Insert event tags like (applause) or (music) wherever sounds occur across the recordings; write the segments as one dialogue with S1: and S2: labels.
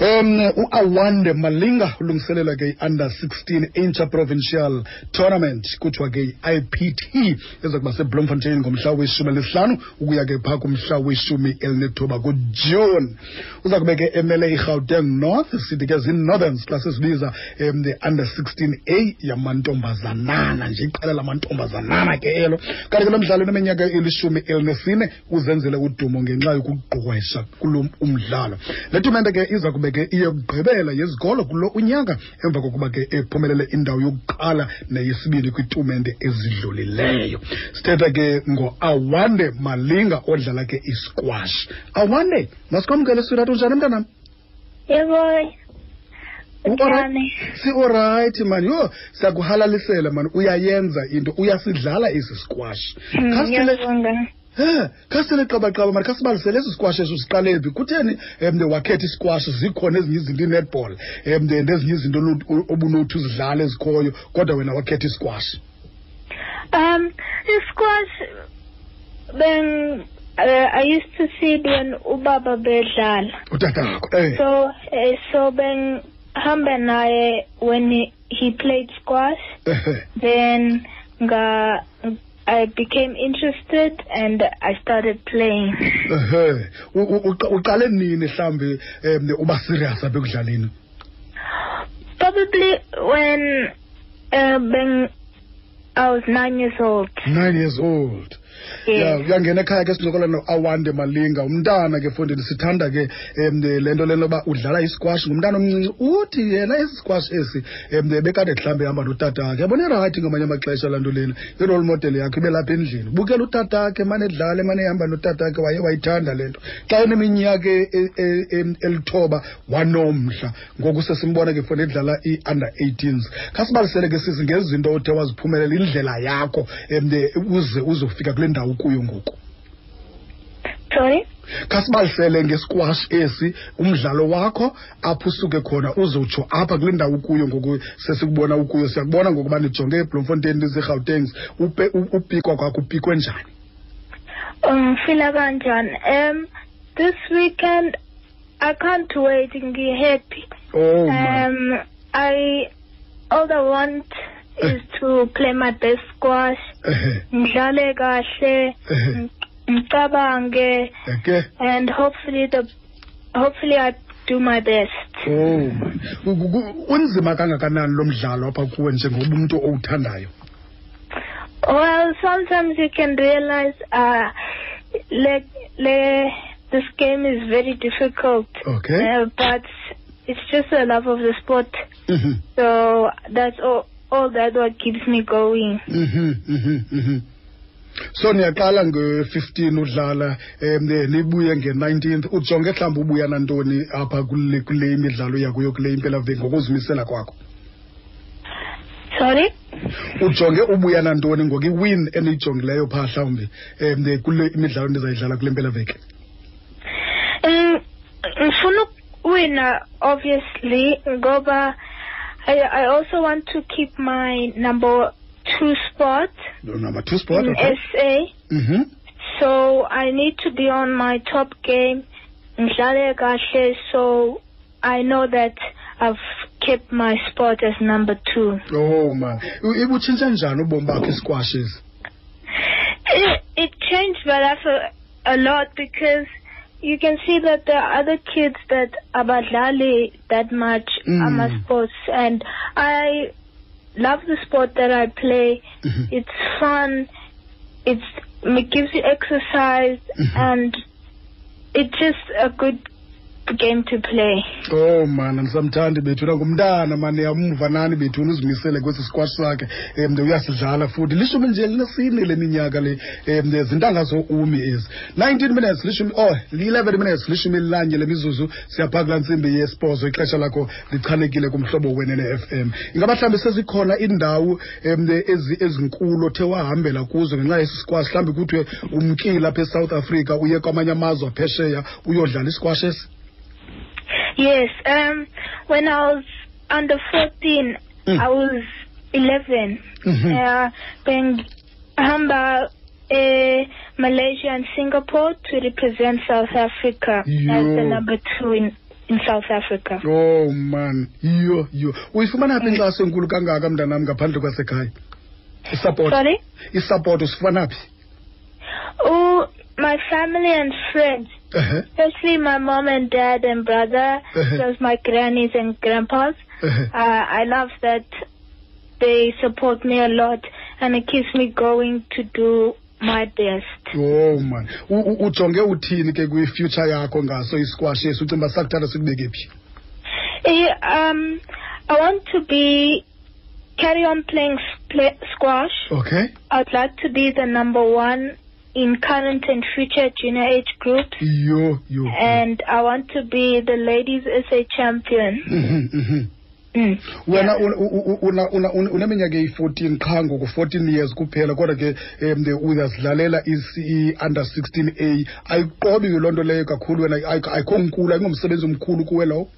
S1: um uawande malinga ulungiselela ke i-under 16 interprovincial tournament kuthiwa ke i-ipt eza kuba sebloemfontein ngomhla weshumi elihlanu ukuya ke phaa kumhla weshumi elinethoba kujuni uza kube ke emele irhawuteng north sithi ke zii-northerns xa sisibiza um the-under 16 a yamantombazanana nje iqela lamantombazanana ke elo kanti ke lo mdlalo neminyaka elishumi elinesine uzenzele udumo ngenxa yokugqwesha kulo umdlalo le tumente ke iza kube ke iyokugqibela yezikolo kulo unyaka emva kokuba ke ephumelele indawo yokuqala neyesibini kwiitumente ezidlulileyo sithetha ke ngoawande malinga odlala ke isquash awande masikwamkele sirathu njani mntanam
S2: Yebo.
S1: Uorayit- siorayithi mani yho siyakuhalalisela mani uyayenza into uyasidlala esi squash
S2: Hmm,
S1: Khasicele- He, khasele qabaqaba mani khasibalisele esi squash eso siqale phi kutheni um wakhetha isikwashi zikhona ezinye izinto i-netball um nezinye izinto onu- obunothi uzidlale ezikhoyo kodwa wena wakhetha isikwashi
S2: Um, the squash, ben, uh, I used to see it when ubaba bedlala.
S1: utatakho eh
S2: So, uh, so ben, hamba naye when he, he played squash.
S1: ehe.
S2: Then, nga, I became interested and I started playing.
S1: eh, (laughs) ehe U- u- uqa- uqale nini mhlawumbi um uba serious apha ekudlaleni
S2: Probably when, uh, ben, I was nine years old.
S1: nine years old ya
S2: Yes.
S1: uyangena ekhaya ke sincokola noawande malinga umntana ke fondini sithanda ke um le nto lento yoba udlala isikwashi ngumntana omncinci uthi yena esi sikwashi esi um bekade mhlawumbi ehamba notatakhe yabona irayithi ngamanye amaxesha laa nto lena irole model yakho ibe lapha endlini bukela utatakhe mane edlala emane ehamba notatakhe waye wayithanda le nto xa eneminyaka e- e- e- em- elithoba wanomdla ngoku sesimbona ke fondini edlala i-under 18s khasibalisele ke sisi ngezinto othe waziphumelela indlela yakho um uze uzofika kule ndawo kuyo ngoku
S2: Sorry?
S1: khasibalisele ngesikwashi esi umdlalo wakho apho usuke khona uzotsho apha kule ndawo ukuyo ngoku sesikubona ukuyo siyakubona ngokuba nijonge eblomfontein lizirhawutengs upikwa kwakho upikwe njani
S2: Ngifila kanjani? Um this weekend I can't wait ngi happy.
S1: oh man.
S2: Um I all I want
S1: Eh.
S2: is to play my best squash.
S1: Ehe,
S2: Ngidlale kahle,
S1: (laughs) ehe.
S2: ng- ngicabange
S1: eke
S2: and hopefully the hopefully I do my best.
S1: oh man. Ugu- gu- unzima kangakanani lo mdlalo apha kuwe njengoba umntu owuthandayo
S2: Well, sometimes you can realize uh le, le, this game is very difficult.
S1: okay
S2: Uh, but it's just the love of the sport.
S1: Mhm,
S2: So that's all, all that what keeps me going.
S1: mhm, mhm, mhm. so niyaqala nge-fifteen udlala um nibuye nge-nineteenth ujonge mhlawumbi ubuya nantoni apha kule kule imidlalo yakuyo kule impelaveki ngokuzimisela kwakho
S2: Sorry?
S1: ujonge ubuya nantoni ngoku iwin eniyijongileyo phaa mhlawumbi um kule imidlalo ndizayidlala kule mpelaveki
S2: Um, ngifuna ukuwina obviously ngoba I, I also want to keep my number two spot
S1: number two sport
S2: in
S1: okay
S2: SA.
S1: Mhm.
S2: So I need to be on my top game. Ngidlale kahle so I know that I've kept my spot as number two.
S1: oh man U- ibutshintshe njani ubomi bakho isikwashesi
S2: It, it changed my life a, a lot because you can see that there are other kids that abadlali that much
S1: Mm.
S2: mm. ama sports, and I love the sport that I play.
S1: Mhm.
S2: It's fun. It's, it gives you exercise,
S1: Mhm.
S2: and it's just a good game to play.
S1: oh man andisamthandi bethuna ngumntana mani yamva nani bethuna uzimisele kwesi sikwashi sakhe um uyasidlala futhi lishumi nje linesine le minyaka le um zintanga zoumi ezi nineteen minutes lishumi oh li-eleven minutes lishumi elinanye le mizuzu siyaphaa kulaa ntsimbi yesibhozo ixesha lakho lichanekile kumhlobo wene ne-f m ingaba mhlawumbi sezikhona iindawo um ezi- ezinkulu othe wahambela kuzo ngenxa yesi sikwashi mhlawumbi kuthiwe umkile apha esouth africa uye kwamanye amazwe aphesheya uyodlala isikwashi esi
S2: Yes. Um. When I was under fourteen,
S1: Mm.
S2: I was eleven.
S1: Mhm.
S2: Uh, then hamba uh, Malaysia and Singapore to represent South Africa as the
S1: Yo.
S2: number two in in South Africa.
S1: oh man yho yho uyifumana phi inkxaso enkulu kangaka mntanam ngaphandle kwasekhaya isapoti
S2: Sorry?
S1: isapoti usifumana phi
S2: Oh, my family and friends,
S1: ehe
S2: especially my mom and dad and brother,
S1: Uh-huh.
S2: plus my grannies and grandpas.
S1: ehe
S2: Uh, I love that they support me a lot and it keeps me going to do my best.
S1: Oh man U- u- ujonge uthini ke kwifuture yakho ngaso isquash esi ucimba sakuthatha sikubeke phi
S2: Eh, um, I want to be carry on playing s- play, squash.
S1: okay
S2: I'd like to be the number one in current and future junior age groups,
S1: yho yho
S2: and I want to be the ladies SA champion.
S1: Mhm, mhm.
S2: Mm.
S1: wena u- u- u- una- una- una- uneminyaka eyi-fourteen qha ngoku fourteen years kuphela kodwa ke um uyazidlalela i-under sixteen a ayiqobi loo nto leyo kakhulu wena ayikho ayikho nkulu ayingomsebenzi omkhulu kuwe lowo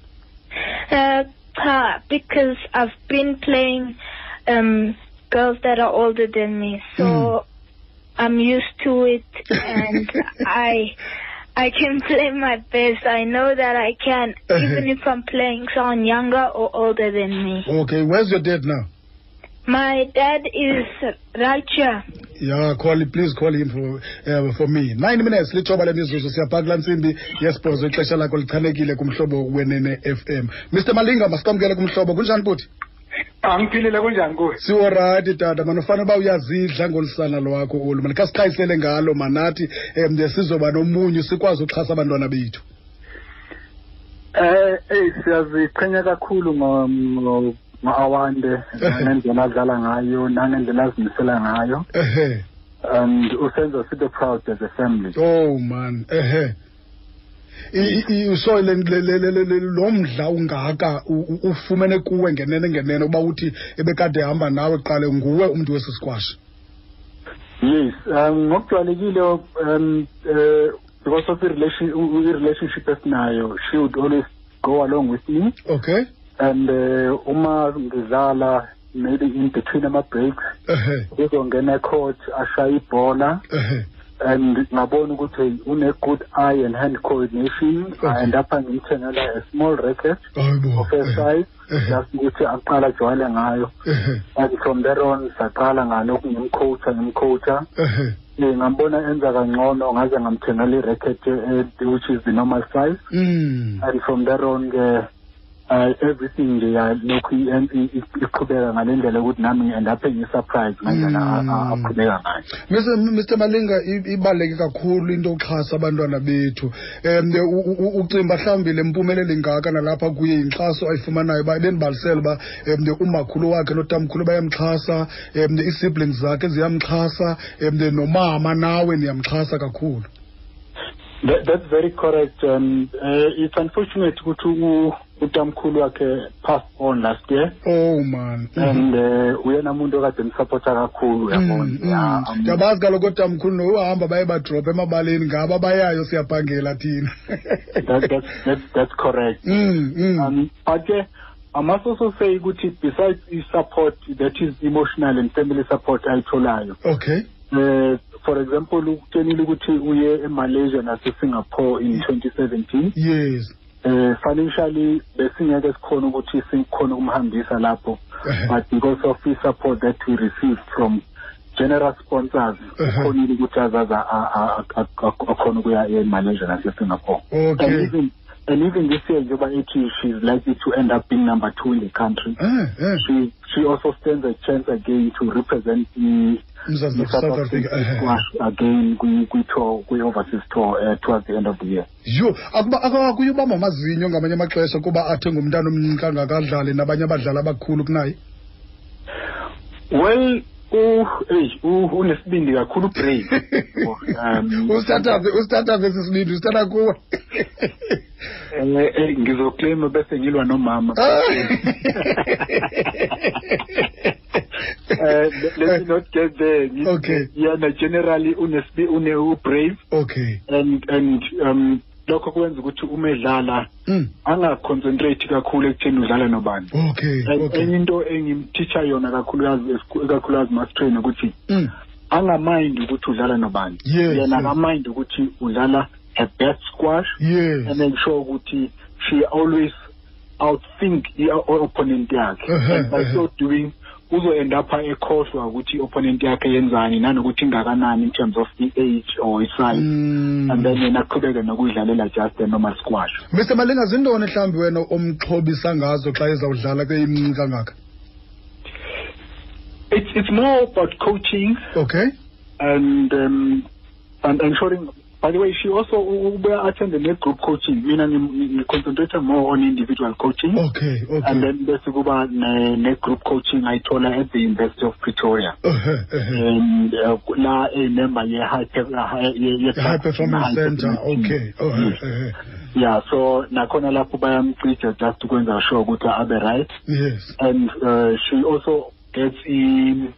S2: Uh, cha, because I've been playing um, girls that are older than me, so
S1: Mm.
S2: I'm used to it, and I I can (laughs) play my best. I know that I can, even if I'm playing someone younger or older than me.
S1: okay where's your dad now
S2: My dad is Raja.
S1: ya call please call him for, uh, for me nine minutes lithoba lemizuzu siyaphaa kulaa ntsimbi yesibhozo ixesha lakho lichanekile kumhlobo wenene-f m mr malinga masikwamkele kumhlobo kunjani buthi
S3: angiphilile Ah, kunjani nkosi
S1: siworati tata manufana uba uyazidla ngolusana lwakho olu mani khasikhayisele ngalo manathi um sizoba nomunye sikwazi ukuxhasa abantwana bethu
S3: eh eyi siyaziqhenya kakhulu ngo- ngo- ngo-awande nangendlela adlala ngayo nangendlela azimisela ngayo
S1: ehe
S3: and usenza sibe proud as a family
S1: oh man ehe I- i- i- so le- le- le- le- le- le- lo mdla ungaka u- u- ufumene kuwe ngenene ngenene uba uthi ebekade ehamba nawe qale nguwe umntu wesi sikwashi
S3: yes um ngokujwayelekile um eh, because of i-relation- u- u- i-relationship esinayo she would always go along with me
S1: okay
S3: and eh, uma ngidlala maybe in between ama-breaks
S1: ehe
S3: ngizongena ecourt ashaye ibhola
S1: ehe
S3: and ngabona ukuthi une-good eye and hand coordination
S1: Okay.
S3: and apha ngimthengela a small racket
S1: hayi bo
S3: of-first size
S1: ehe
S3: just ukuthi aqala ajwayele ngayo
S1: ehe
S3: and from there on saqala ngalokhu ngimcoacha ngimcoacha
S1: ehe
S3: um ngambona enza kangcono ngaze ngamthengela i-racket eh, which is the normal size
S1: Mm.
S3: and from there on-ke uh, everything nje yalokhu i- i- i- iqhubeka ngale ndlela yokuthi nami ngi-end up ngi-surprise ngendlela a- a-
S1: Mm.
S3: aqhubeka ngayo
S1: Mr. Mr Malinga i- ibaleke kakhulu into yokuxhasa abantwana bethu. Em u- u- ucimba mhlambi lempumelelo ingaka nalapha kuye inxaso ayifumanayo ba benibalisela ba em umakhulu wakhe notamkhulu bayamxhasa, em isiblings zakhe ziyamxhasa, em nomama nawe niyamxhasa kakhulu.
S3: That, that's very correct. Um, uh, it's unfortunate ukuthi u- utamkhulu wakhe passed on last year.
S1: Oh man.
S3: And uh, uyena muntu okade msupporta kakhulu
S1: Mm,
S3: yabona. Yeah,
S1: mm.
S3: um,
S1: Ndiyabazi kaloku tamkhulu nohamba baye badrop emabaleni ngaba bayayo siyaphangela thina.
S3: That, that's, that's, that's correct.
S1: Mm, mm.
S3: Um, but uh, I must also say ukuthi besides the support that is emotional and family support ayitholayo.
S1: Okay.
S3: Uh, for example, ukutshenile ukuthi uye eMalaysia naseSingapore in 2017.
S1: Yes.
S3: Uh, financially besingeke sikhona ukuthi sikhona ukumhambisa lapho.
S1: Uh-huh.
S3: but because of the support that we received from generous sponsors
S1: Uh-huh.
S3: ukhonile ukuthi azazi a- a- a- a- akhona ukuya emalaysia nasesingapore and
S1: Okay.
S3: even and even this year njengoba ethi she's likely to end up being number two in the country
S1: Eh, eh.
S3: she she also stands a chance again to represent the
S1: Mzansi of South Africa. eh.
S3: squash again kwi- kwi-tour kwi-overseas tour uh, towards the end of the year
S1: Yho, akuba akakuye ubamba amazinyo ngamanye amaxesha kuba athi ngumntana omncinci kangakadlali nabanye abadlali abakhulu kunaye.
S3: well oh, u eyi u- unesibindi
S1: (laughs)
S3: kakhulu ubrave Um,
S1: Usithathaze, usithathaze esisibindi, usithatha kuwe.
S3: Eh, eh, ngizoclaima bese ngilwa nomama
S1: Ah.
S3: (laughs) Eh, le- let me not get there Ngi-
S1: Okay.
S3: yena generally unesibi- une ubrave
S1: Okay.
S3: and and um lokho kwenza ukuthi uma edlala
S1: Mm.
S3: angaconcentrate kakhulu ekutheni udlala nobani
S1: Okay.
S3: And
S1: Okay.
S3: enye into engimthisha yona kakhulukazi esiku- ikakhulukazi mastrain ukuthi
S1: Mm.
S3: angamind ukuthi udlala nobani
S1: Yes,
S3: yena
S1: yes.
S3: akamind ukuthi udlala a best squash
S1: Yes.
S3: and then sure ukuthi she always outthink i-opponent yakhe
S1: Uh-huh,
S3: and by
S1: uh-huh.
S3: so doing uzoendapha ekhohlwa ukuthi i-opponent yakhe yenzani nanokuthi ingakanani in terms of i-age or i-size
S1: Mm.
S3: and then yena aqhubeke nokuyidlalela just a normal squash
S1: mr malinga zintoni mhlawumbi wena omxhobisa ngazo xa ezawudlala ke imnci kangaka
S3: it's, it's more about coaching
S1: okay
S3: and um, and ensuring by the way she also ubuya attend ne-group coaching mina ngiconcentrate more on individual coaching
S1: okay
S3: Hmm? and
S1: okay
S3: then bese kuba ne- ne-group coaching ayithola at the university of pretoria
S1: Ehhe, ehhe.
S3: um uh, la eyimember ye-high eh,
S1: high performance center
S3: mm.
S1: okay Oh, ehhe, ehhe.
S3: yeah so nakhona lapho bayamcija just ukwenza sure ukuthi abe right
S1: yes
S3: and uh, she also gets in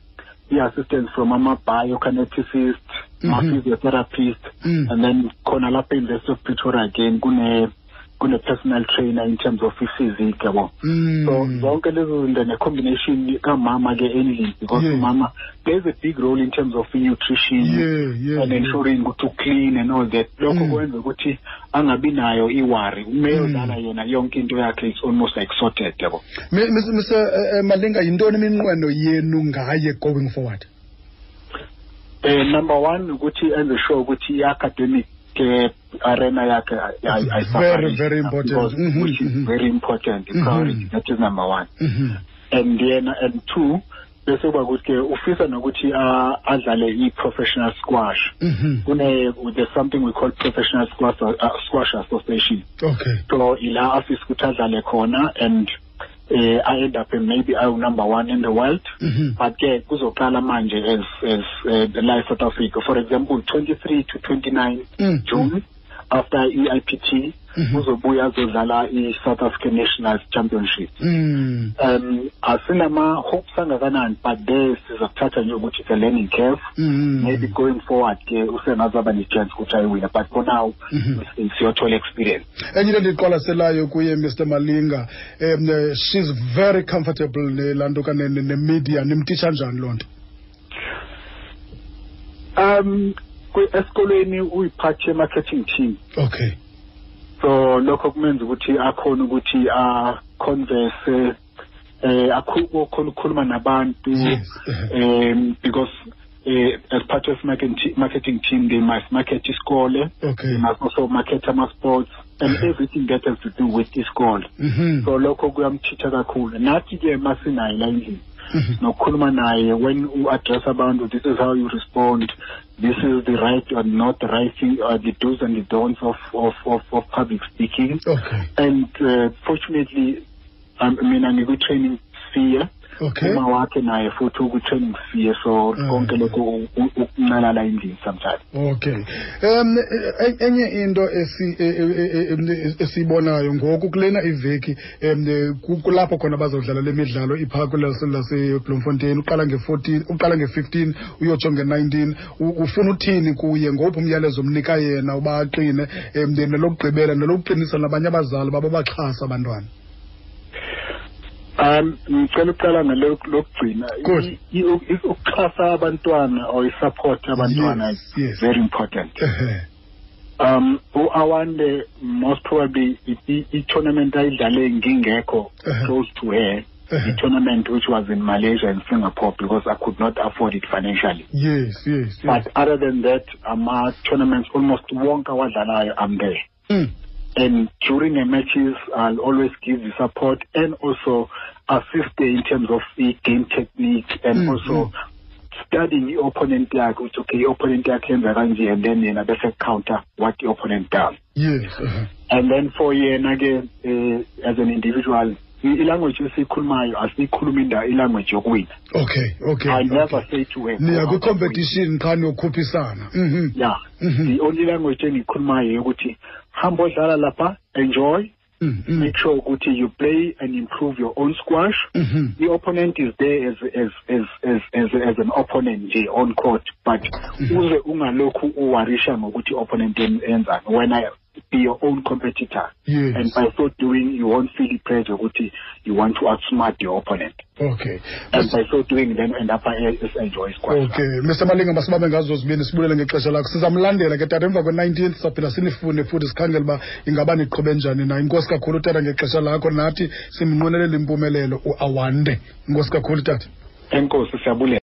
S3: the assistance from ama biokineticist mm
S1: Mhm.
S3: physiotherapist
S1: Mm.
S3: and then khona lapha e University of Pretoria again kune kune personal trainer in terms of physique yabo
S1: Mm.
S3: so zonke lezo zinto ne combination kamama ke enilini because
S1: Yeah.
S3: mama plays a big role in terms of nutrition
S1: yeah yeah
S3: and ensuring ukuthi uclean and all that lokho
S1: Mm.
S3: kwenza ukuthi angabi nayo iwari umeyodlala
S1: Mm.
S3: yena yonke into yakhe is almost like sorted yabo
S1: Mi- mis- mr eh, eh, malinga yintoni iminqweno yenu ngaye going forward
S3: Eh, number one ukuthi enze sure ukuthi i-academic eh, arena yakhe ay- ay-
S1: Very,
S3: ayisafari.
S1: very important.
S3: Because-
S1: Mhm,
S3: which is
S1: mhm.
S3: very important
S1: Mhm.
S3: priority that is number one
S1: Mhm.
S3: and yena and two bese kuba ukuthi ufisa nokuthi ah, adlale i-professional squash
S1: Mhm.
S3: kune there's something we call professional squash, uh, squash association
S1: okay
S3: so ila afisa ukuthi adlale khona and eh, I-end up maybe awu-number one in the world
S1: Mhm.
S3: but ke kuzoqala manje as as uh, the life South Africa for example 23 to 29
S1: Mm,
S3: June after E EIPT
S1: Mhm.
S3: uzobuya azodlala i-South African Nationals Championship
S1: Mm.
S3: um asinama hopes angakanani but there sizakuthatha nje ukuthi it's a learning curve
S1: Mm.
S3: maybe going forward ke usengazaba ne-chance ukuthi ayiwina but for now
S1: Mhm.
S3: siyothola experience
S1: enye into endiyiqwalaselayo kuye mr malinga um eh, she's very comfortable nelaa nto kane- ne- nemedia nimtitsha njani loo nto
S3: um kwi- esikolweni uyiphathi ye-marketing team
S1: okay
S3: so lokho kumenza ukuthi akhona ukuthi aconverse eh akho khona ukukhuluma nabantu
S1: Yes.
S3: um because eh, as part of marketing marketing team they must market isikole
S1: (laughs) okay
S3: they must also market ama-sports and
S1: Mhm.
S3: everything that has to do with isikole
S1: Mhm.
S3: so lokho kuyamthitha kakhulu nathi-ke masinaye la endlini
S1: Mhm.
S3: nokukhuluma naye when u-address abantu this is how you respond this is the right or not the right thing or the do's and the don'ts of, of, of, of public speaking
S1: okay
S3: and uh, fortunately um, mina ngikwi-training sphere
S1: okay
S3: uma wakhe naye futhi ukwi-training sphere so
S1: Mm.
S3: konke lokhu u- u- ukunalala endlini sometimes
S1: okay um e- enye into esi- e- e- e- e- esiyibonayo ngoku kulena iveki um eh, ku- kulapho khona bazawudlala le midlalo iphaa kwelase laseblomfontein uqala nge-14 uqala nge-15 uyotsho nge-19 U- ufuna uthini kuye ngowuphi umyalezo omnika yena uba aqine um nelokugqibela nelokuqinisa nabanye abazali bababaxhasa abantwana
S3: um ngicela ukuqala ngalokugcina
S1: Good.
S3: I- i- u- i- ukuxhasa abantwana or i-support abantwana
S1: Yes, yes.
S3: is very important
S1: Ehhe.
S3: um u-awande most probably i- i-tournament ayidlale ngingekho
S1: Uh-huh.
S3: close to her
S1: Uh-huh.
S3: i-tournament which was in malaysia and singapore because i could not afford it financially
S1: yes yes yes
S3: but other than that ama-tournaments almost wonke awadlalayo am there
S1: Mm,
S3: and during the matches i'll always give the support and also assist her in terms of the game technique and
S1: Mm,
S3: also studying i-opponent yakhe ukuthi okay i-opponent yakhe yenza kanje and then yena bese counter what i-opponent does
S1: yes ehhe.
S3: and then for yena ke uh, as an individual i- i-language esiyikhulumayo asiyikhulumi inda i-language yokuwina
S1: okay okay
S3: i never
S1: okay.
S3: say to her
S1: niya
S3: "Go out and win."
S1: kwi-competition qha niyokhuphisana Mhm.
S3: yeah
S1: Mhm.
S3: the only language engiyikhulumayo yokuthi hamba odlala lapha enjoy
S1: Mm, mm.
S3: make sure ukuthi you play and improve your own squash
S1: Mhm.
S3: the opponent is there as as as as as, as an opponent nje on court but
S1: Mm-hmm.
S3: uze ungalokhu uwarisha ngokuthi opponent en- enzani wena be your own competitor
S1: Yes.
S3: and by so doing you won't feel the pressure ukuthi you want to outsmart your opponent
S1: okay
S3: and by so doing then end up enjoys quite
S1: okay mr malinga masibambe ngazo zibini sibulele ngexesha lakho sizamlandela ke tata emva kwe-19th saphinda sinifune futhi sikhangele uba ingaba niqhube njani na inkosi kakhulu tata ngexesha lakho nathi simnqwenelela impumelelo uawande inkosi kakhulu tata
S3: enkosi siyabulela